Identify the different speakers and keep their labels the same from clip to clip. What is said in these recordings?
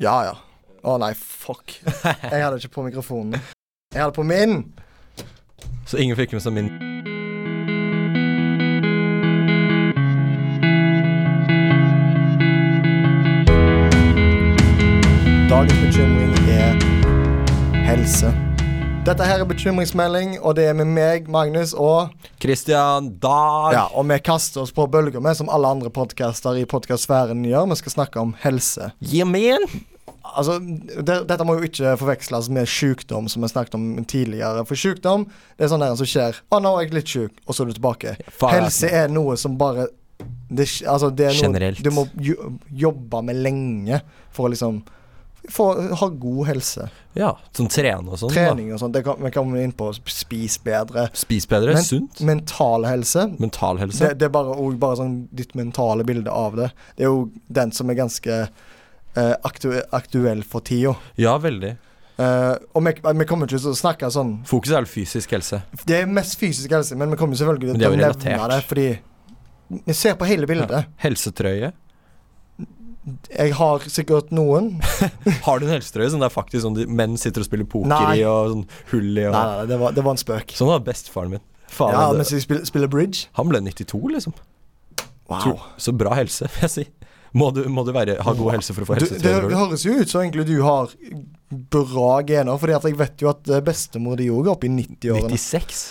Speaker 1: Ja, ja. Å nei, fuck. Jeg hadde ikke på mikrofonen. Jeg hadde på min!
Speaker 2: Så ingen fikk med seg min.
Speaker 1: Dagens bekymring er helse. Dette her er bekymringsmelding, og det er med meg, Magnus, og
Speaker 2: Christian Dag.
Speaker 1: Ja, og vi kaster oss på bølger med, som alle andre podcaster i podcastsfæren gjør. Vi skal snakke om helse.
Speaker 2: Jemen.
Speaker 1: Altså, det, dette må jo ikke forveksles med sykdom, som vi snakket om tidligere. For sykdom det er sånn der som skjer. 'Å, nå er jeg litt sjuk', og så er du tilbake.
Speaker 2: faen,
Speaker 1: Helse er noe som bare det, sk- altså, det er noe
Speaker 2: Generelt.
Speaker 1: du må jo, jobbe med lenge for å liksom få, ha god helse.
Speaker 2: Ja, som trener og sånn. da.
Speaker 1: Trening og sånt. Det kan, vi kommer inn på spis bedre.
Speaker 2: Spis bedre.
Speaker 1: Men-
Speaker 2: sunt.
Speaker 1: Mental helse.
Speaker 2: Mental helse.
Speaker 1: Det, det er bare, og bare sånn ditt mentale bilde av det. Det er jo den som er ganske eh, aktu aktuell for tida.
Speaker 2: Ja, veldig.
Speaker 1: Eh, og vi, vi kommer ikke til å snakke sånn
Speaker 2: Fokus er vel fysisk helse.
Speaker 1: Det er mest fysisk helse, men vi kommer selvfølgelig
Speaker 2: Men det
Speaker 1: til
Speaker 2: er
Speaker 1: å
Speaker 2: jo
Speaker 1: nevne
Speaker 2: relatert.
Speaker 1: det, fordi vi ser på hele bildet.
Speaker 2: Helsetrøye.
Speaker 1: Jeg har sikkert noen Nei,
Speaker 2: Har du en helsetrøye som det er faktisk sånn de, menn sitter og spiller poker
Speaker 1: Nei.
Speaker 2: i, og sånn hull i og
Speaker 1: nei, nei det, var, det var en spøk.
Speaker 2: Sånn var bestefaren min. Faen,
Speaker 1: Ja,
Speaker 2: det-
Speaker 1: mens vi spiller, spiller bridge.
Speaker 2: Han ble 92, liksom.
Speaker 1: Wow.
Speaker 2: Tror- Så bra helse, vil jeg si. Må du, må du være, ha god helse for å få
Speaker 1: Du,
Speaker 2: helsetrøye,
Speaker 1: det,
Speaker 2: tror
Speaker 1: det
Speaker 2: du?
Speaker 1: høres jo ut som egentlig du har bra gener, Fordi at jeg vet jo at eh, bestemor di òg er oppe i 90-årene.
Speaker 2: 96?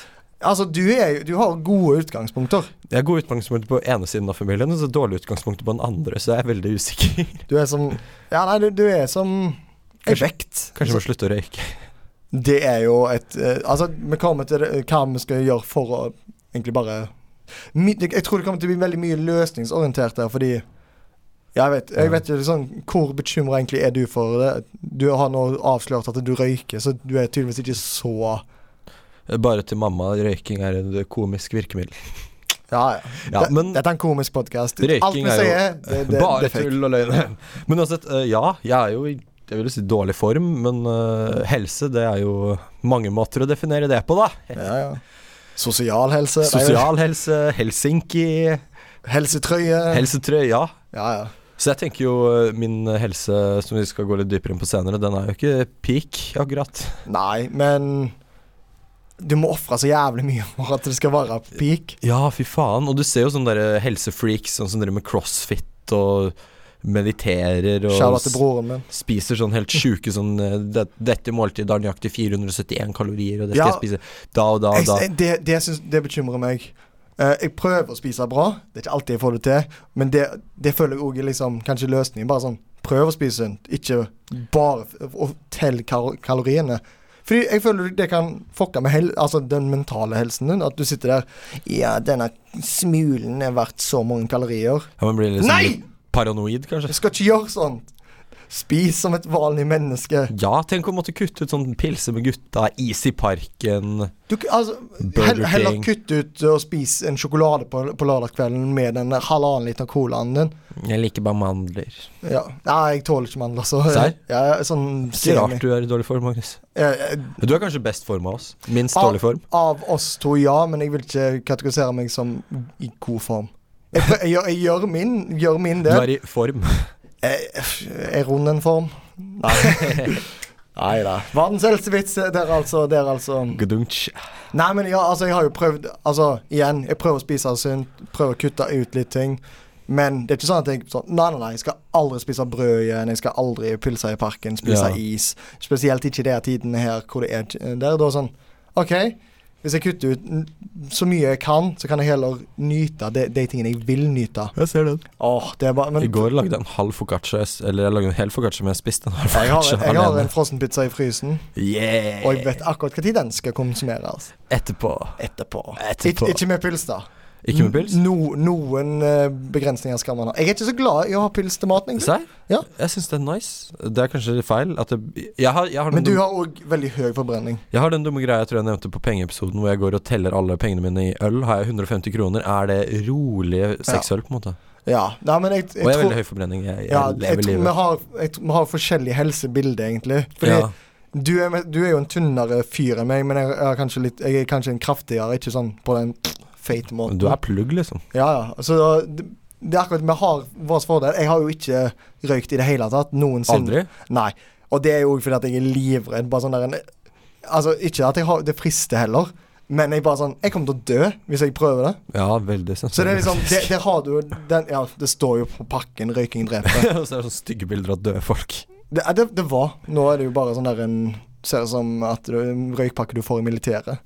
Speaker 1: Altså, du, er, jo- du har gode utgangspunkter.
Speaker 2: Jeg har gode utgangspunkter på ene siden av familien, og så dårlige utgangspunkter på den andre, så jeg er veldig usikker.
Speaker 1: Du er som Ja, nei, du, du er som
Speaker 2: Kanskje-
Speaker 1: Vekt.
Speaker 2: Kanskje jeg må slutte å røyke.
Speaker 1: Det er jo et eh, Altså, vi kommer til det, hva vi skal gjøre for å egentlig bare My- det- Jeg tror det kommer til å bli veldig mye løsningsorientert her, fordi jeg vet, jeg vet jo sånn, Hvor bekymra egentlig er du for det? Du har nå avslørt at du røyker, så du er tydeligvis ikke så
Speaker 2: Bare til mamma, røyking er et komisk virkemiddel.
Speaker 1: Ja, ja.
Speaker 2: Ja,
Speaker 1: Det-
Speaker 2: men
Speaker 1: Dette er en komisk podkast.
Speaker 2: Røyking
Speaker 1: Alt vi
Speaker 2: er jo
Speaker 1: sier, det, det,
Speaker 2: bare
Speaker 1: det er fake.
Speaker 2: tull og løgn. Men uansett, eh, ja, jeg er jo i jeg vil si dårlig form, men eh, helse det er jo mange måter å definere det på, da.
Speaker 1: Ja, ja. Sosial helse. nei,
Speaker 2: Sosial helse, Helsinki,
Speaker 1: Helsetrøye.
Speaker 2: helsetrøye, ja.
Speaker 1: ja, ja.
Speaker 2: Så jeg tenker jo eh, min helse, som vi skal gå litt dypere inn på senere, den er jo ikke peak, akkurat.
Speaker 1: Nei, men du må ofre så jævlig mye for at det skal være peak.
Speaker 2: Ja, fy faen. Og du ser jo sånne der helsefreaks, sånn som driver med crossfit og mediterer og
Speaker 1: Shout-out til broren min.
Speaker 2: spiser sånn helt sjuke sånn eh, det, Dette måltidet har nøyaktig 471 kalorier, og det
Speaker 1: Ja.
Speaker 2: skal jeg spise da og da
Speaker 1: Jeg,
Speaker 2: og da.
Speaker 1: jeg- det, det, syns- det bekymrer meg. Eh, jeg prøver å spise bra, det er ikke alltid jeg får det til. Men det, det føler jeg òg er liksom, kanskje løsningen. Bare sånn, prøv å spise sunt, ikke bare f- å telle kal kaloriene. Fordi jeg føler det kan fucke med hel altså den mentale helsen din. At du sitter der Ja, denne smulen er verdt så mange kalorier.
Speaker 2: Ja, man blir liksom
Speaker 1: Nei!
Speaker 2: litt paranoid,
Speaker 1: Du
Speaker 2: kanskje.
Speaker 1: skal ikke gjøre sånt! Spis som et vanlig menneske.
Speaker 2: Ja, tenk å måtte kutte ut sånn pilse med gutta, is i parken.
Speaker 1: Du, altså,
Speaker 2: Burger
Speaker 1: hell, heller
Speaker 2: King.
Speaker 1: kutt ut og spis en sjokolade på, på lørdagskvelden med den der halvannen liter colaen din.
Speaker 2: Jeg liker bare mandler.
Speaker 1: Ja. Nei, jeg tåler ikke mandler, så
Speaker 2: Serr?
Speaker 1: ja, sånn,
Speaker 2: Ikke
Speaker 1: semi.
Speaker 2: rart du er i dårlig form, Magnus.
Speaker 1: Eh, eh,
Speaker 2: Du er kanskje best form av oss. Minst
Speaker 1: Ah.
Speaker 2: dårlig form.
Speaker 1: Av oss to, ja, men jeg vil ikke kategorisere meg som i god form. Jeg, prø- jeg, gjør- jeg gjør min, gjør min
Speaker 2: Du
Speaker 1: del.
Speaker 2: er i form.
Speaker 1: Jeg, er rund en form? Nei. Nei da. Verdens eldste vits der, altså. Der, altså.
Speaker 2: Gdunch.
Speaker 1: Nei, men ja, altså, jeg har jo prøvd Altså, igjen, jeg prøver å spise sunt, prøver å kutte ut litt ting. Men det er ikke sånn at jeg sånn, Nei, nei, nei, jeg skal aldri spise brød igjen. Jeg skal aldri pølse i parken, spise
Speaker 2: Ja.
Speaker 1: is. Spesielt ikke i de tidene her hvor det er der. Da er sånn OK, hvis jeg kutter ut n- så mye jeg kan, så kan jeg heller nyte de, de tingene jeg vil nyte.
Speaker 2: Jeg ser den.
Speaker 1: Åh, det er bare men,
Speaker 2: I går lagde jeg en halv foccaccia. jeg s- Eller jeg lagde en hel foccaccia, men jeg spiste en halv
Speaker 1: jeg har,
Speaker 2: foccaccia
Speaker 1: jeg har
Speaker 2: alene.
Speaker 1: en frossenpizza i frysen,
Speaker 2: Yeah!
Speaker 1: og jeg vet akkurat når den skal konsumeres.
Speaker 2: Etterpå.
Speaker 1: Etterpå.
Speaker 2: Etterpå.
Speaker 1: Ik ikke med pils, da.
Speaker 2: Ikke med pils?
Speaker 1: No, noen eh, begrensninger skal man ha. Jeg er ikke så glad i å ha pils til maten, egentlig.
Speaker 2: Serr?
Speaker 1: Ja.
Speaker 2: Jeg syns det er nice. Det er kanskje litt feil at det, jeg, har, jeg, har den
Speaker 1: Men du
Speaker 2: dumme,
Speaker 1: har òg veldig høy forbrenning.
Speaker 2: jeg har den dumme greia jeg tror jeg nevnte på pengeepisoden, hvor jeg går og teller alle pengene mine i øl. Har jeg 150 kroner, er det rolige seks øl, på en måte.
Speaker 1: Ja. Nei, men jeg, jeg,
Speaker 2: Og jeg har
Speaker 1: tror
Speaker 2: veldig høy forbrenning. Jeg, jeg
Speaker 1: ja, jeg
Speaker 2: lever
Speaker 1: tror vi
Speaker 2: livet.
Speaker 1: har, jeg tror vi har forskjellige helsebilder, egentlig. Fordi
Speaker 2: Ja.
Speaker 1: du, er, med- du er jo en tynnere fyr enn meg, men jeg er kanskje, litt, jeg er kanskje en kraftigere, ikke sånn på den feite måten.
Speaker 2: Du er plugg, liksom.
Speaker 1: Ja, ja. Så eh, det- det er akkurat vi har vår fordel. Jeg har jo ikke røykt i det hele tatt noensinne.
Speaker 2: Aldri?
Speaker 1: Nei. Og det er jo fordi at jeg er livredd. Bare sånn der en Altså, ikke at jeg har det frister heller, men jeg bare sånn Jeg kommer til å dø hvis jeg prøver det.
Speaker 2: Ja, veldig sannsynlig.
Speaker 1: Så det er liksom Der, der har du jo den Ja, det står jo på pakken 'røyking dreper'.
Speaker 2: Og så er det sånne stygge bilder av døde folk.
Speaker 1: Det, er- det, det var. Nå er det jo bare sånn der en Ser ut som at du, en røykpakke du får i militæret.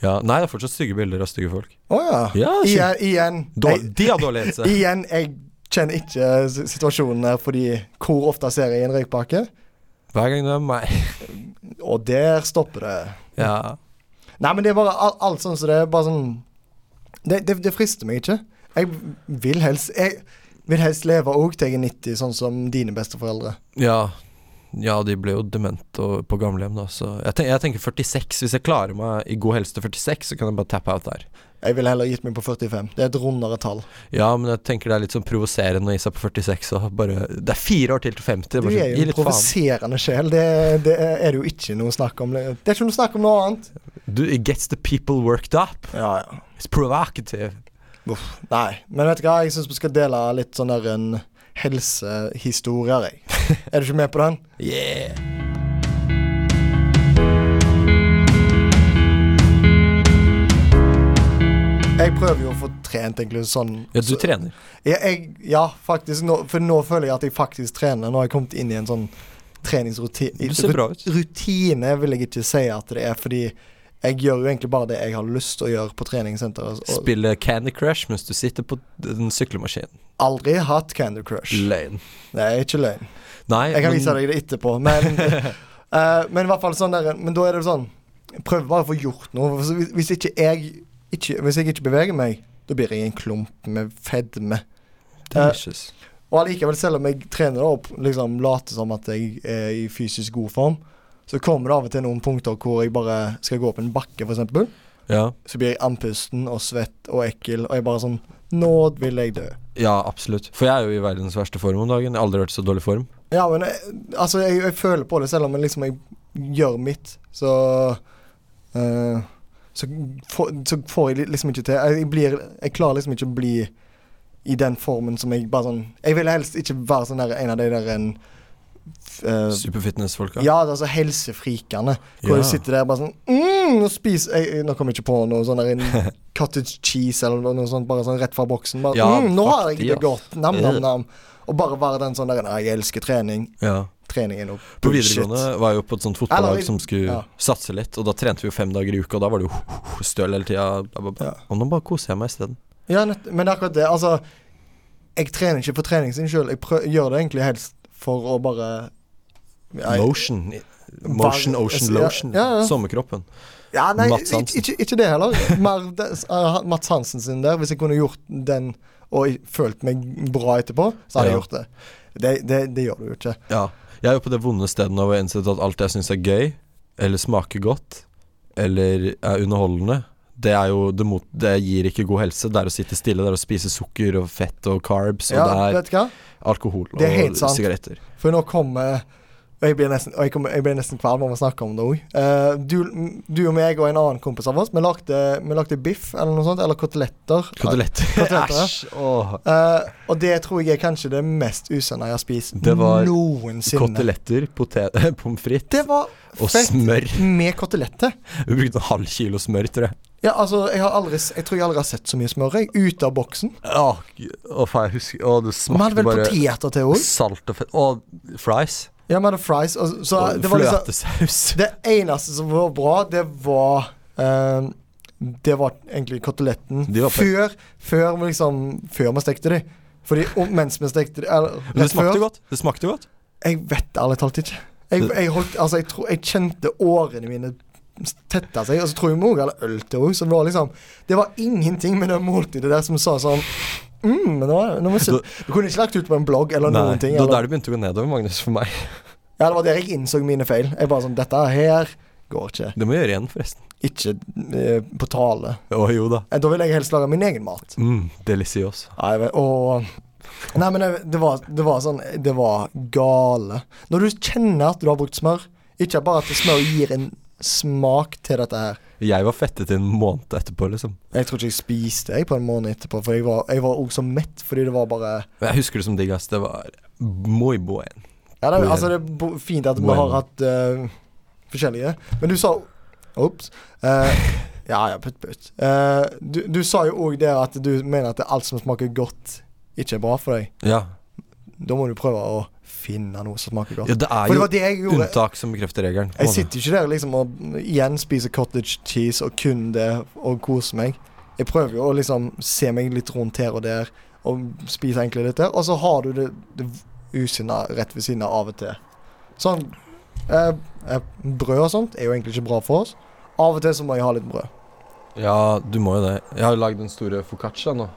Speaker 2: Ja, Nei, det er fortsatt stygge bilder av stygge folk.
Speaker 1: Å ja.
Speaker 2: Ja,
Speaker 1: Igjen. igjen
Speaker 2: Dår,
Speaker 1: jeg,
Speaker 2: de har dårlig helse.
Speaker 1: igjen, jeg kjenner ikke s- situasjonen her, fordi hvor ofte ser jeg en røykpakke?
Speaker 2: Hver gang det er meg.
Speaker 1: Og der stopper det.
Speaker 2: Ja.
Speaker 1: Nei, men det er bare alt, alt sånn som det er bare sånn det, det, det frister meg ikke. Jeg vil helst Jeg vil helst leve òg til jeg er 90, sånn som dine besteforeldre.
Speaker 2: ja. Ja, de ble jo demente og- på gamlehjem, da, så jeg, tenk, jeg tenker 46. Hvis jeg klarer meg i god helse til 46, så kan jeg bare tappe out der.
Speaker 1: Jeg ville heller gitt meg på 45. Det er et rundere tall.
Speaker 2: Ja, men jeg tenker det er litt sånn provoserende å gi seg på 46 og bare Det er fire år til til 50.
Speaker 1: Du
Speaker 2: Bare,
Speaker 1: er
Speaker 2: sånn,
Speaker 1: jo
Speaker 2: gi
Speaker 1: en
Speaker 2: litt faen.
Speaker 1: provoserende sjel. Det, det er det jo ikke noe snakk om. Det er ikke noe snakk om noe annet.
Speaker 2: Du, it gets the people worked up.
Speaker 1: Ja, ja.
Speaker 2: It's provocative.
Speaker 1: Nei. Men vet du hva, jeg syns vi skal dele litt sånn der en helsehistorier, jeg. Er du ikke med på den?
Speaker 2: Yeah.
Speaker 1: Jeg prøver jo å få trent egentlig sånn
Speaker 2: Ja, du
Speaker 1: så-
Speaker 2: trener.
Speaker 1: Ja, jeg, ja faktisk. Nå, for nå føler jeg at jeg faktisk trener. Nå har jeg kommet inn i en sånn treningsrutine.
Speaker 2: Du ser bra ut.
Speaker 1: Rutine vil jeg ikke si at det er, fordi jeg gjør jo egentlig bare det jeg har lyst til å gjøre på treningssenteret. Og
Speaker 2: Spille Candy Crush mens du sitter på den syklemaskinen.
Speaker 1: aldri hatt Candy Crush.
Speaker 2: Løgn.
Speaker 1: Det er ikke løgn.
Speaker 2: Nei,
Speaker 1: Jeg kan
Speaker 2: men-
Speaker 1: vise deg det etterpå. Men, eh, men i hvert fall sånn der Men da er det sånn Prøv bare å få gjort noe. Hvis- Hvis, hvis, ikke jeg, ikke, hvis jeg ikke beveger meg, da blir jeg en klump med fedme. eh,
Speaker 2: Delicious.
Speaker 1: Og allikevel, selv om jeg trener da opp, liksom later som at jeg er i fysisk god form, så kommer det av og til noen punkter hvor jeg bare skal gå opp en bakke, f.eks.
Speaker 2: Ja.
Speaker 1: Så blir jeg andpusten og svett og ekkel, og jeg bare sånn Nå vil jeg dø.
Speaker 2: ja, absolutt. For jeg er jo i verdens verste form om dagen. Jeg har aldri vært i så dårlig form.
Speaker 1: Ja, men jeg, altså, jeg, jeg føler på det, selv om jeg liksom jeg gjør mitt, så eh, så, får- så får jeg li- liksom ikke til. Jeg, blir, jeg klarer liksom ikke å bli i den formen som jeg bare sånn Jeg vil helst ikke være sånn der, en av de der en eh,
Speaker 2: Superfitness-folka.
Speaker 1: Ja, det er altså helsefrikene. Hvor
Speaker 2: Ja.
Speaker 1: de sitter der bare sånn mm, Nå spiser jeg Nå kommer jeg ikke på noe sånn der en cottage cheese eller noe sånt, bare sånn rett fra boksen. Bare,
Speaker 2: Ja,
Speaker 1: mm, nå
Speaker 2: fuck
Speaker 1: har jeg
Speaker 2: de,
Speaker 1: det
Speaker 2: ass.
Speaker 1: godt. Nam,
Speaker 2: Øh.
Speaker 1: nam, nam. Og bare være den sånn der Nei, jeg elsker trening.
Speaker 2: Ja.
Speaker 1: Trening er noe
Speaker 2: På
Speaker 1: bullshit.
Speaker 2: videregående var jeg jo på et sånt
Speaker 1: Eller
Speaker 2: fotballag
Speaker 1: vi-
Speaker 2: som skulle
Speaker 1: ja.
Speaker 2: satse litt, og da trente vi jo fem dager i uka, og da var det jo støl hele tida. Da bare-
Speaker 1: Ja.
Speaker 2: Og nå bare koser jeg meg isteden.
Speaker 1: Ja, nett, men det er akkurat det. Altså, jeg trener ikke for trening sin sjøl. Jeg prø- gjør det egentlig helst for å bare Ja, jeg-
Speaker 2: Motion. Motion,
Speaker 1: Var-
Speaker 2: ocean,
Speaker 1: Ja,
Speaker 2: lotion.
Speaker 1: ja, ja.
Speaker 2: Sommerkroppen.
Speaker 1: Ja, nei,
Speaker 2: Mats
Speaker 1: ikke,
Speaker 2: Hansen.
Speaker 1: ikke, ikke det heller. Mer det- eh, Mats Hansen sin der. Hvis jeg kunne gjort den og jeg følt meg bra etterpå, så hadde jeg
Speaker 2: Ja.
Speaker 1: gjort det. Det, det. det gjør du jo ikke.
Speaker 2: Ja. Jeg er jo på det vonde stedet nå hvor jeg har innsett at alt jeg syns er gøy, eller smaker godt, eller er underholdende, det er jo det, mot, det gir ikke god helse. Det er å sitte stille, det er å spise sukker og fett og carbs,
Speaker 1: Ja,
Speaker 2: og det
Speaker 1: vet du hva?
Speaker 2: er alkohol
Speaker 1: det er helt
Speaker 2: og
Speaker 1: sant.
Speaker 2: sigaretter.
Speaker 1: For nå kommer og jeg blir nesten, og jeg kommer, jeg blir nesten kvalm av å snakke om det òg. du, du og meg og en annen kompis av oss, vi lagde, vi lagde biff eller noe sånt, eller koteletter.
Speaker 2: Koteletter.
Speaker 1: Koteletter, ja.
Speaker 2: Æsj. åh.
Speaker 1: Eh, og det tror jeg er kanskje det mest usunne jeg har spist
Speaker 2: Det var
Speaker 1: noensinne.
Speaker 2: Koteletter, potet- pommes frites
Speaker 1: Det var
Speaker 2: og
Speaker 1: fett
Speaker 2: smør.
Speaker 1: med kotelette.
Speaker 2: Vi brukte en halv kilo smør, tror jeg.
Speaker 1: Ja, altså, jeg, har aldri, s- jeg tror jeg aldri har sett så mye smør jeg, ute av boksen.
Speaker 2: Åh, g- åh, faen, jeg husker Åh, det
Speaker 1: Vi hadde
Speaker 2: smakte
Speaker 1: vel
Speaker 2: bare
Speaker 1: poteter til òg.
Speaker 2: salt og fett. Og fries.
Speaker 1: Ja, vi hadde fries. Og, så
Speaker 2: Og
Speaker 1: det var liksom
Speaker 2: fløtesaus.
Speaker 1: Det eneste som var bra, det var eh, Det var egentlig koteletten.
Speaker 2: De var på-
Speaker 1: før, før, vi liksom, før vi stekte de. Fordi og mens vi stekte de eller,
Speaker 2: Men det
Speaker 1: rett før-
Speaker 2: smakte godt. Det smakte godt.
Speaker 1: Jeg vet ærlig talt ikke. Jeg, jeg, holdt, altså, jeg, tror, jeg kjente årene mine tette seg. Og så tror jeg vi òg hadde øl til òg, så det var liksom Det var ingenting med det måltidet der som sa sånn mm, nå, er- nå må jeg, Du kunne ikke lagt ut på en blogg eller noen ting.
Speaker 2: det var
Speaker 1: Eller,
Speaker 2: der det begynte å gå nedover, Magnus, for meg.
Speaker 1: ja, det var der jeg innså mine feil. Jeg bare sånn Dette her går ikke.
Speaker 2: Det må jeg gjøre igjen, forresten.
Speaker 1: Ikke eh, på tale.
Speaker 2: Å jo da.
Speaker 1: Eh, Da vil jeg helst lage min egen mat.
Speaker 2: Mm, Delicios.
Speaker 1: Ja, jeg vet, og Nei, men jeg- det var, det var sånn Det var gale. Når du kjenner at du har brukt smør, ikke bare at smør gir en smak til dette her.
Speaker 2: Jeg var fettet i en måned etterpå, liksom.
Speaker 1: Jeg tror ikke jeg spiste jeg på en måned etterpå, for jeg var, jeg var også så mett fordi det var bare
Speaker 2: Men Jeg husker det som digg, ass. Det var muy buen.
Speaker 1: Ja, det, er-
Speaker 2: Hvor-
Speaker 1: altså, det er bo- fint at vi
Speaker 2: hvor-
Speaker 1: har hatt eh, forskjellige. Men du sa Ops. Eh, ja, ja, putt, putt. Eh, du, du sa jo òg det at du mener at det er alt som smaker godt, ikke er bra for deg.
Speaker 2: Ja.
Speaker 1: Da må du prøve å finne noe som smaker godt.
Speaker 2: ja, det er
Speaker 1: for det
Speaker 2: jo
Speaker 1: var det jeg gjorde.
Speaker 2: unntak som bekrefter regelen. på en
Speaker 1: Jeg
Speaker 2: måte.
Speaker 1: sitter ikke der liksom og igjen spiser cottage cheese og kun det og koser meg. Jeg prøver jo å liksom se meg litt rundt her og der og spise egentlig litt der. Og så har du det, det usunne rett ved siden av av og til. Sånn eh, eh, Brød og sånt er jo egentlig ikke bra for oss. Av og til så må jeg ha litt brød.
Speaker 2: Ja, du må jo det. Jeg har jo lagd den store foccaccia nå.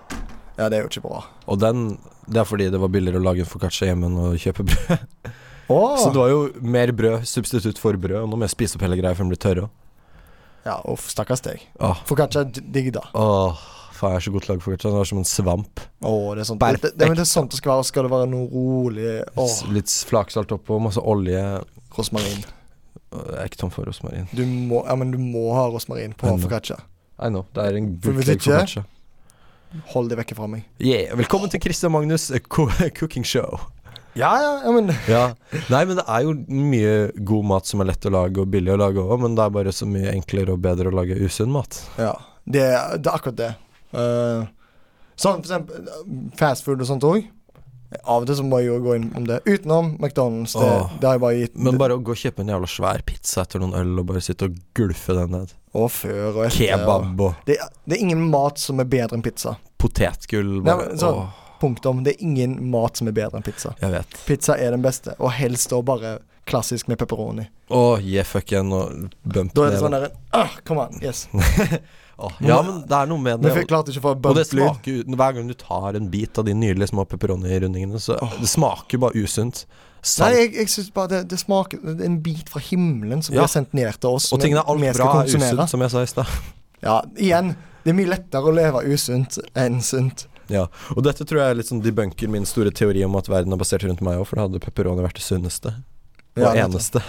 Speaker 1: Ja, det er jo ikke bra.
Speaker 2: Og den Det er fordi det var billigere å lage en foccaccia hjemme enn å kjøpe brød.
Speaker 1: Åh,
Speaker 2: Så det var jo mer brød, substitutt for brød. Og nå må jeg spise opp hele greia før den blir tørr òg.
Speaker 1: Ja, uff, stakkars deg.
Speaker 2: Åh,
Speaker 1: Foccaccia er digg, da.
Speaker 2: åh, faen, jeg er så god til å lage foccaccia. Den var som en svamp.
Speaker 1: Å, det er sånn det,
Speaker 2: Perfekt.
Speaker 1: det, men det er sånt det skal være. Skal det være noe rolig Åh,
Speaker 2: S- Litt flaksalt oppå, masse olje. Åh,
Speaker 1: rosmarin.
Speaker 2: Jeg er ikke tom for rosmarin.
Speaker 1: Du må, ja, men du må ha rosmarin på
Speaker 2: Ennå.
Speaker 1: foccaccia.
Speaker 2: I know. Det er en
Speaker 1: For hvis
Speaker 2: bootleg
Speaker 1: ikke-
Speaker 2: foccaccia.
Speaker 1: Hold det vekk fra meg.
Speaker 2: Yeah, velkommen til Christian Magnus eh, co cooking show.
Speaker 1: Ja, ja, ja, men
Speaker 2: Ja. Nei, men det er jo mye god mat som er lett å lage og billig å lage òg, men det er bare så mye enklere og bedre å lage usunn mat.
Speaker 1: ja, det, er- det er akkurat det. Eh, sånn for eksempel eh, fast food og sånt òg. Av og til så må jeg jo gå inn om det. Utenom McDonald's. Det,
Speaker 2: Åh.
Speaker 1: det har jeg bare gitt.
Speaker 2: Men bare å gå og kjøpe en jævla svær pizza etter noen øl og bare sitte og gulfe den ned.
Speaker 1: Og før og etter. og-
Speaker 2: Kebab og
Speaker 1: Det, er- det er ingen mat som er bedre enn pizza.
Speaker 2: potetgull.
Speaker 1: Nei,
Speaker 2: Bare,
Speaker 1: men sånn.
Speaker 2: åh,
Speaker 1: Punktum. Det er ingen mat som er bedre enn pizza.
Speaker 2: jeg vet.
Speaker 1: Pizza er den beste, og helst da bare klassisk med pepperoni.
Speaker 2: Å, yeah, fuck igjen og bump
Speaker 1: Da er det
Speaker 2: ned.
Speaker 1: sånn der ah, Kom an. Yes.
Speaker 2: Åh, ja, men det er noe med
Speaker 1: Vi
Speaker 2: det.
Speaker 1: fikk klart ikke å få
Speaker 2: Og det
Speaker 1: bump-lyd.
Speaker 2: smaker uten Hver gang du tar en bit av de nydelige små pepperoni-rundingene, så det smaker bare usunt.
Speaker 1: Nei,
Speaker 2: Salt.
Speaker 1: jeg, jeg syns bare det, det smaker det er En bit fra himmelen som
Speaker 2: Ja.
Speaker 1: blir sendt ned til oss. som
Speaker 2: og tingene er
Speaker 1: vi
Speaker 2: alt
Speaker 1: skal
Speaker 2: bra er
Speaker 1: konsumere.
Speaker 2: usunt, som jeg sa i stad.
Speaker 1: Ja, igjen. Det er mye lettere å leve usunt enn sunt.
Speaker 2: Ja, og dette tror jeg liksom debunker min store teori om at verden er basert rundt meg òg, for da hadde pepperoni vært det sunneste. Og
Speaker 1: Ja, nettopp.
Speaker 2: eneste.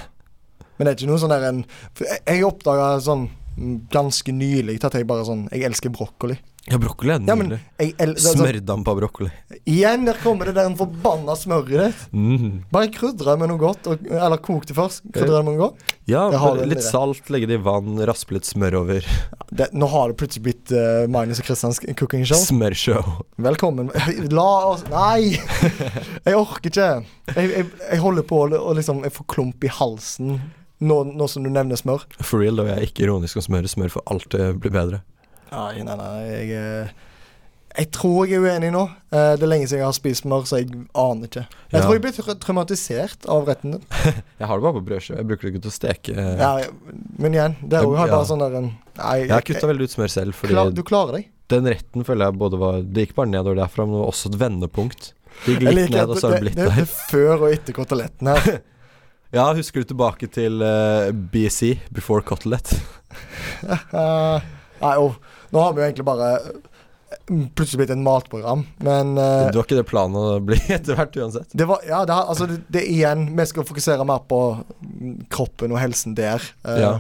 Speaker 1: Men det er ikke noe sånn der en for Jeg, jeg oppdaga sånn mm, ganske nylig at jeg bare sånn Jeg elsker brokkoli.
Speaker 2: Ja, brokkoli er
Speaker 1: Ja, men
Speaker 2: nydelig.
Speaker 1: jeg el, det er sånn,
Speaker 2: Smørdamp av brokkoli.
Speaker 1: Igjen, der kommer det der forbanna smøret ditt.
Speaker 2: Mm.
Speaker 1: Bare krydre med noe godt. Og, eller kok det først. Krydre det med noe godt.
Speaker 2: Ja,
Speaker 1: Jeg har det
Speaker 2: litt
Speaker 1: allerede.
Speaker 2: salt, legge det i vann, raspe litt smør over.
Speaker 1: Det, nå har det plutselig blitt eh, Magnus og Kristians cooking show.
Speaker 2: Smørshow.
Speaker 1: Velkommen. La oss Nei! Jeg orker ikke. Jeg, jeg, jeg holder på å å liksom Jeg får klump i halsen nå, nå som du nevner smør.
Speaker 2: For real, da. Jeg er ikke ironisk om smør. Smør for alt det blir bedre.
Speaker 1: Nei, nei, nei. Jeg, eh, jeg tror jeg er uenig nå. Eh, Det er lenge siden jeg har spist smør, så jeg aner ikke. Jeg
Speaker 2: Ja.
Speaker 1: tror jeg ble tra- traumatisert av retten din.
Speaker 2: Jeg har det bare på brødskive. Jeg bruker det ikke til å steke.
Speaker 1: Ja, jeg- men igjen, det er jo har jeg
Speaker 2: Ja.
Speaker 1: bare sånn der en Nei,
Speaker 2: Jeg har
Speaker 1: jeg-
Speaker 2: kutta veldig ut smør selv,
Speaker 1: jeg-
Speaker 2: fordi
Speaker 1: klar, du klarer deg.
Speaker 2: den retten føler jeg både var Det gikk bare nedover derfra, men det var også et vendepunkt. Det gikk
Speaker 1: Jeg liker
Speaker 2: litt ned,
Speaker 1: at
Speaker 2: og så har det
Speaker 1: det,
Speaker 2: blitt
Speaker 1: det,
Speaker 2: der.
Speaker 1: det er før og etter koteletten her.
Speaker 2: Ja, husker du tilbake til eh, BC, Before Cotelet?
Speaker 1: Eh, nei, og nå har vi jo egentlig bare eh, plutselig blitt en matprogram, men eh,
Speaker 2: Det var ikke det planen å bli etter hvert uansett?
Speaker 1: det var, ja, det, har- altså, det, det igjen, vi skal fokusere mer på mm, kroppen og helsen der. Eh,
Speaker 2: Ja.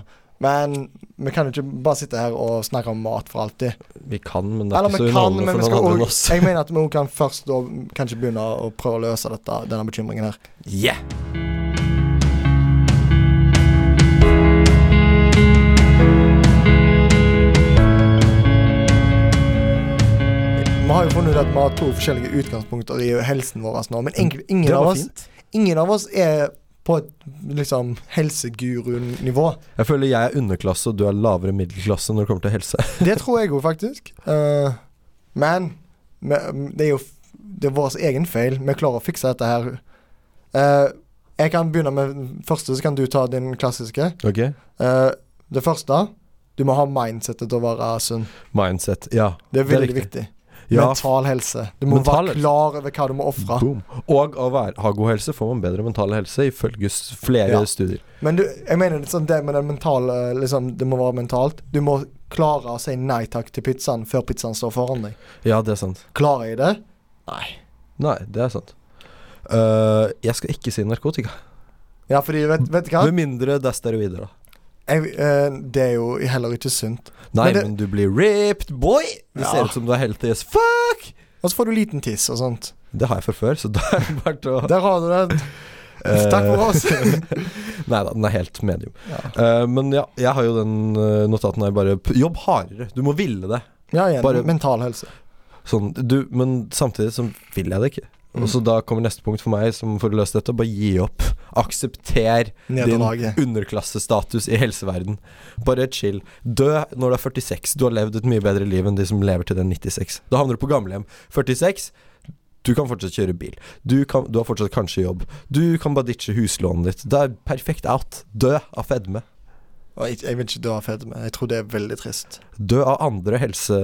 Speaker 1: Men vi kan jo ikke bare sitte her og snakke om mat for alltid.
Speaker 2: Vi kan, men det er
Speaker 1: Eller
Speaker 2: ikke så
Speaker 1: vi kan,
Speaker 2: underholdende
Speaker 1: men
Speaker 2: for
Speaker 1: vi
Speaker 2: noen
Speaker 1: skal
Speaker 2: andre enn oss.
Speaker 1: også Jeg mener at vi også kan først da mm, kanskje begynne å prøve å løse dette, denne bekymringen her.
Speaker 2: Yeah!
Speaker 1: Vi har jo funnet ut at vi har to forskjellige utgangspunkter i helsen vår nå, men egentlig, ingen,
Speaker 2: det
Speaker 1: av
Speaker 2: var
Speaker 1: oss,
Speaker 2: fint.
Speaker 1: ingen av oss er på et liksom helseguru-nivå.
Speaker 2: Jeg føler jeg er underklasse, og du er lavere middelklasse når det kommer til helse.
Speaker 1: Det tror jeg jo faktisk. Eh, men men det er jo f- det er vår egen feil. Vi klarer å fikse dette her. Eh, jeg kan begynne med den første, så kan du ta din klassiske.
Speaker 2: Ok?
Speaker 1: Eh, det første Du må ha mindsetet til å være sunn.
Speaker 2: Mindset. Ja.
Speaker 1: Det er
Speaker 2: Det er
Speaker 1: veldig
Speaker 2: riktig.
Speaker 1: viktig.
Speaker 2: Ja.
Speaker 1: Mental helse. Du må
Speaker 2: Mental
Speaker 1: være
Speaker 2: helse.
Speaker 1: klar over hva du må ofre.
Speaker 2: Boom. Og å være, ha god helse får man bedre mental helse, ifølge s- flere
Speaker 1: Ja.
Speaker 2: studier.
Speaker 1: Men du, jeg mener litt sånn det med den mentale liksom, Det må være mentalt. Du må klare å si nei takk til pizzaen før pizzaen står foran deg.
Speaker 2: Ja, det er sant.
Speaker 1: Klarer jeg det? Nei.
Speaker 2: Nei, det er sant. Eh, jeg skal ikke si narkotika.
Speaker 1: Ja, fordi vet, vet du hva?
Speaker 2: Med mindre det er steroider, da.
Speaker 1: Jeg, eh, det er jo heller ikke sunt.
Speaker 2: Nei,
Speaker 1: Men
Speaker 2: men,
Speaker 1: det-
Speaker 2: du blir ripped, boy! Det
Speaker 1: Ja.
Speaker 2: ser ut som du er helt yes. Fuck!
Speaker 1: Og så får du liten tiss og sånt.
Speaker 2: Det har jeg fra før, så da er det bare til å
Speaker 1: Der har du det.
Speaker 2: Eh,
Speaker 1: Takk for oss.
Speaker 2: Nei da, den er helt medium.
Speaker 1: Ja,
Speaker 2: Eh, men ja, jeg har jo den eh, notaten her bare p- Jobb hardere. Du må ville det.
Speaker 1: ja igjen,
Speaker 2: Bare-
Speaker 1: mental helse.
Speaker 2: Sånn, du, men samtidig så vil jeg det ikke.
Speaker 1: Mm.
Speaker 2: Og så Da kommer neste punkt for meg som for å løse dette. Bare gi opp. Aksepter
Speaker 1: Nederlaget.
Speaker 2: din underklassestatus i helseverden. Bare chill. Dø når du er 46. Du har levd et mye bedre liv enn de som lever til den 96. Da havner du på gamlehjem. 46. Du kan fortsatt kjøre bil. Du, kan, du har fortsatt kanskje jobb. Du kan bare ditche huslånet ditt. Det er perfekt out. Dø av fedme.
Speaker 1: Og jeg, jeg vil ikke dø av fedme. Jeg tror det er veldig trist.
Speaker 2: Dø av andre helse,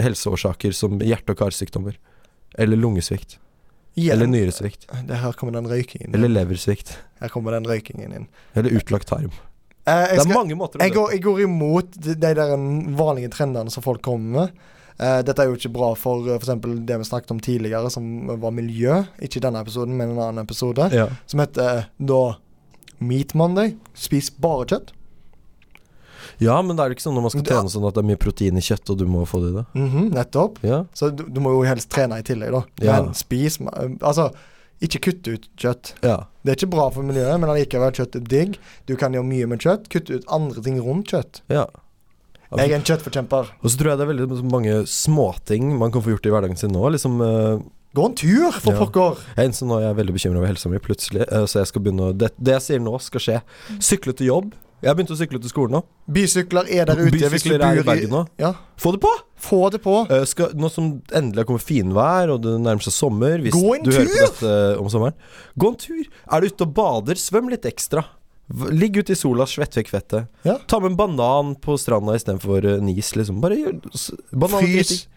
Speaker 2: helseårsaker som hjerte- og karsykdommer. Eller lungesvikt.
Speaker 1: Igjen.
Speaker 2: Eller nyresvikt.
Speaker 1: det her kommer den røykingen
Speaker 2: Eller
Speaker 1: inn.
Speaker 2: leversvikt.
Speaker 1: Her kommer den røykingen inn.
Speaker 2: Eller utlagt tarm.
Speaker 1: Eh,
Speaker 2: Det
Speaker 1: jeg,
Speaker 2: er
Speaker 1: skal,
Speaker 2: mange måter å
Speaker 1: jeg,
Speaker 2: dø
Speaker 1: går, jeg går imot de, de der vanlige trendene som folk kommer med. Eh, dette er jo ikke bra for f.eks. det vi snakket om tidligere, som var miljø. Ikke i denne episoden, men en annen episode.
Speaker 2: ja.
Speaker 1: Som heter eh, da Meat Monday. Spis bare kjøtt.
Speaker 2: ja, men det er jo ikke sånn når man skal
Speaker 1: Ja.
Speaker 2: trene sånn at det er mye protein i kjøtt, og du må få det i deg.
Speaker 1: Mhm, nettopp.
Speaker 2: Ja.
Speaker 1: Så du, du må jo helst trene i tillegg, da.
Speaker 2: Ja.
Speaker 1: Men spis ma- eh, Altså, ikke kutt ut kjøtt.
Speaker 2: ja.
Speaker 1: Det er ikke bra for miljøet, men allikevel, kjøtt er digg. Du kan gjøre mye med kjøtt. Kutte ut andre ting rundt kjøtt.
Speaker 2: ja. Altså-
Speaker 1: Jeg er en kjøttforkjemper.
Speaker 2: Og så tror jeg det er veldig mange småting man kan få gjort i hverdagen sin nå. Liksom, eh,
Speaker 1: Gå en tur, for
Speaker 2: Ja.
Speaker 1: pokker!
Speaker 2: jeg er en som nå er veldig bekymra over helsa mi, plutselig. eh, så jeg skal begynne å det, det jeg sier nå, skal skje.
Speaker 1: Mm.
Speaker 2: Sykle til jobb. Jeg har begynt å sykle til skolen nå.
Speaker 1: Bysykler er der ute. hvis du
Speaker 2: Bysykler er i
Speaker 1: bor
Speaker 2: Bergen nå.
Speaker 1: Ja.
Speaker 2: Få det på!
Speaker 1: Få det på.
Speaker 2: Eh, skal, nå som endelig har kommet finvær, og det nærmer seg sommer Hvis
Speaker 1: Gå en
Speaker 2: du hører på
Speaker 1: tur!
Speaker 2: dette eh, om sommeren Gå en tur! Er du ute og bader, svøm litt ekstra. V- Ligg ute i sola, svett vekk fettet.
Speaker 1: Ja.
Speaker 2: Ta med en banan på stranda istedenfor en is, liksom. Bare gjør s- banan,
Speaker 1: Frys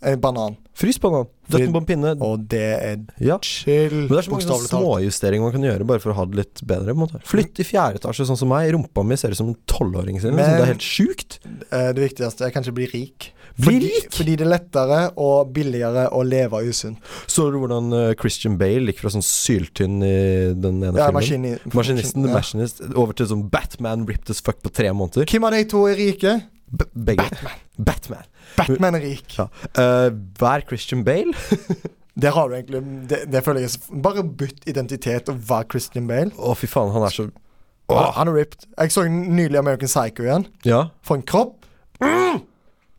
Speaker 1: en banan.
Speaker 2: Frys banan. Døtt
Speaker 1: Fri-
Speaker 2: den på en pinne.
Speaker 1: Og det er
Speaker 2: Ja.
Speaker 1: chill,
Speaker 2: Men det er så mange
Speaker 1: bokstavelig
Speaker 2: sånne
Speaker 1: talt.
Speaker 2: småjusteringer man kan gjøre bare for å ha det litt bedre. på en måte Flytt i fjerde etasje, sånn som meg. Rumpa mi ser ut som en tolvåring sin. Liksom.
Speaker 1: Men-
Speaker 2: Det er helt sjukt.
Speaker 1: Eh, Det viktigste er kanskje å bli rik.
Speaker 2: Bli
Speaker 1: fordi,
Speaker 2: rik!
Speaker 1: Fordi det er lettere og billigere å leve usunt.
Speaker 2: Så du hvordan eh, Christian Bale gikk fra sånn syltynn i den ene
Speaker 1: Ja,
Speaker 2: filmen?
Speaker 1: maskini,
Speaker 2: Maskinisten, The
Speaker 1: ja.
Speaker 2: Machinist, over til sånn Batman ripped as fuck på tre måneder.
Speaker 1: Hvem av de to er rike?
Speaker 2: B begge. Batman.
Speaker 1: Batman er rik.
Speaker 2: Ja. Eh, vær Christian Bale.
Speaker 1: Der har du egentlig Det, det føler jeg er så- Bare bytt identitet og vær Christian Bale.
Speaker 2: Å, fy faen, han er så
Speaker 1: Han-
Speaker 2: Åh,
Speaker 1: Han er ripped. Jeg så nylig American Psycho igjen.
Speaker 2: Ja.
Speaker 1: For en kropp.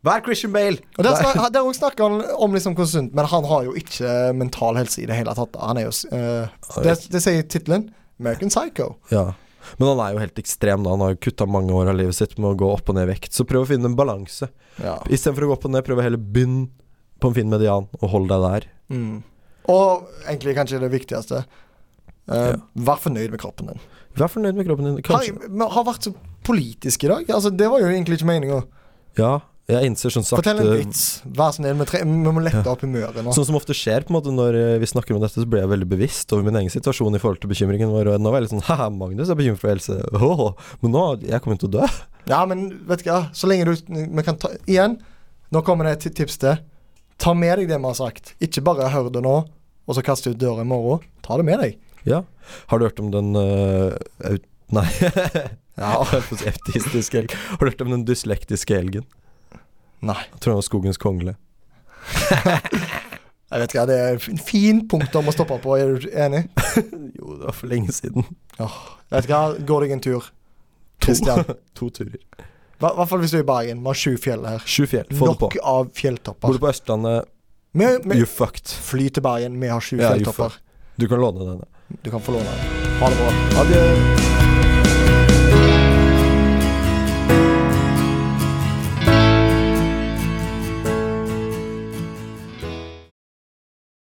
Speaker 2: Vær Christian Bale!
Speaker 1: Og Der, snak, der også snakker han om liksom hvor sunt, men han har jo ikke mental helse i det hele tatt. Han er jo s- eh, Det, det sier tittelen. American Psycho.
Speaker 2: Ja. Men han er jo helt ekstrem, da. Han har jo kutta mange år av livet sitt med å gå opp og ned i vekt. Så prøv å finne en balanse.
Speaker 1: Ja.
Speaker 2: Istedenfor å gå opp og ned, prøv å heller begynne på en fin median, og hold deg der.
Speaker 1: Mm. Og egentlig kanskje det viktigste. eh,
Speaker 2: Ja.
Speaker 1: Vær fornøyd med kroppen din.
Speaker 2: Vær fornøyd med kroppen din.
Speaker 1: Har,
Speaker 2: Kanskje
Speaker 1: vi har vært så politisk i dag. Altså, det var jo egentlig ikke meninga.
Speaker 2: Ja, jeg innser sånn sakte
Speaker 1: Fortell sånn en vits. Vær så snill. Vi, tre- vi må lette opp humøret nå.
Speaker 2: Sånn som ofte skjer på en måte når eh, vi snakker om dette, så blir jeg veldig bevisst over min egen situasjon i forhold til bekymringen vår. Og nå var jeg litt sånn Haha, Magnus er bekymret for helse. Åh, men nå Jeg kommer til å dø.
Speaker 1: Ja, men vet du hva, så lenge du vi kan ta, Igjen, nå kommer det et ti- tips til. Ta med deg det vi har sagt. Ikke bare hør det nå, og så kaste ut døra i morgen. Ta det med deg.
Speaker 2: Ja. Har du hørt om den eh, au- Nei.
Speaker 1: Ja.
Speaker 2: Jeg holdt på å si autistiske elg. Har du hørt om den dyslektiske elgen?
Speaker 1: Nei.
Speaker 2: Jeg tror han var skogens kongle.
Speaker 1: Jeg vet ikke, Det er en fin punkt om å stoppe på, er du enig?
Speaker 2: Jo, det var for lenge siden.
Speaker 1: Jeg vet ikke, hva, Gå deg en tur. Kristian.
Speaker 2: To turer.
Speaker 1: I hvert fall hvis du er i Bergen. Vi har sju fjell her.
Speaker 2: Sju fjell. Få det på.
Speaker 1: Nok av
Speaker 2: Bor
Speaker 1: fjelltopper.
Speaker 2: du på Østlandet,
Speaker 1: Vi, vi
Speaker 2: you fucked.
Speaker 1: fly til Bergen, vi har sju
Speaker 2: Ja, you
Speaker 1: fjelltopper.
Speaker 2: Du kan låne denne.
Speaker 1: Du kan få låne den. Ha det bra.
Speaker 2: Adjø.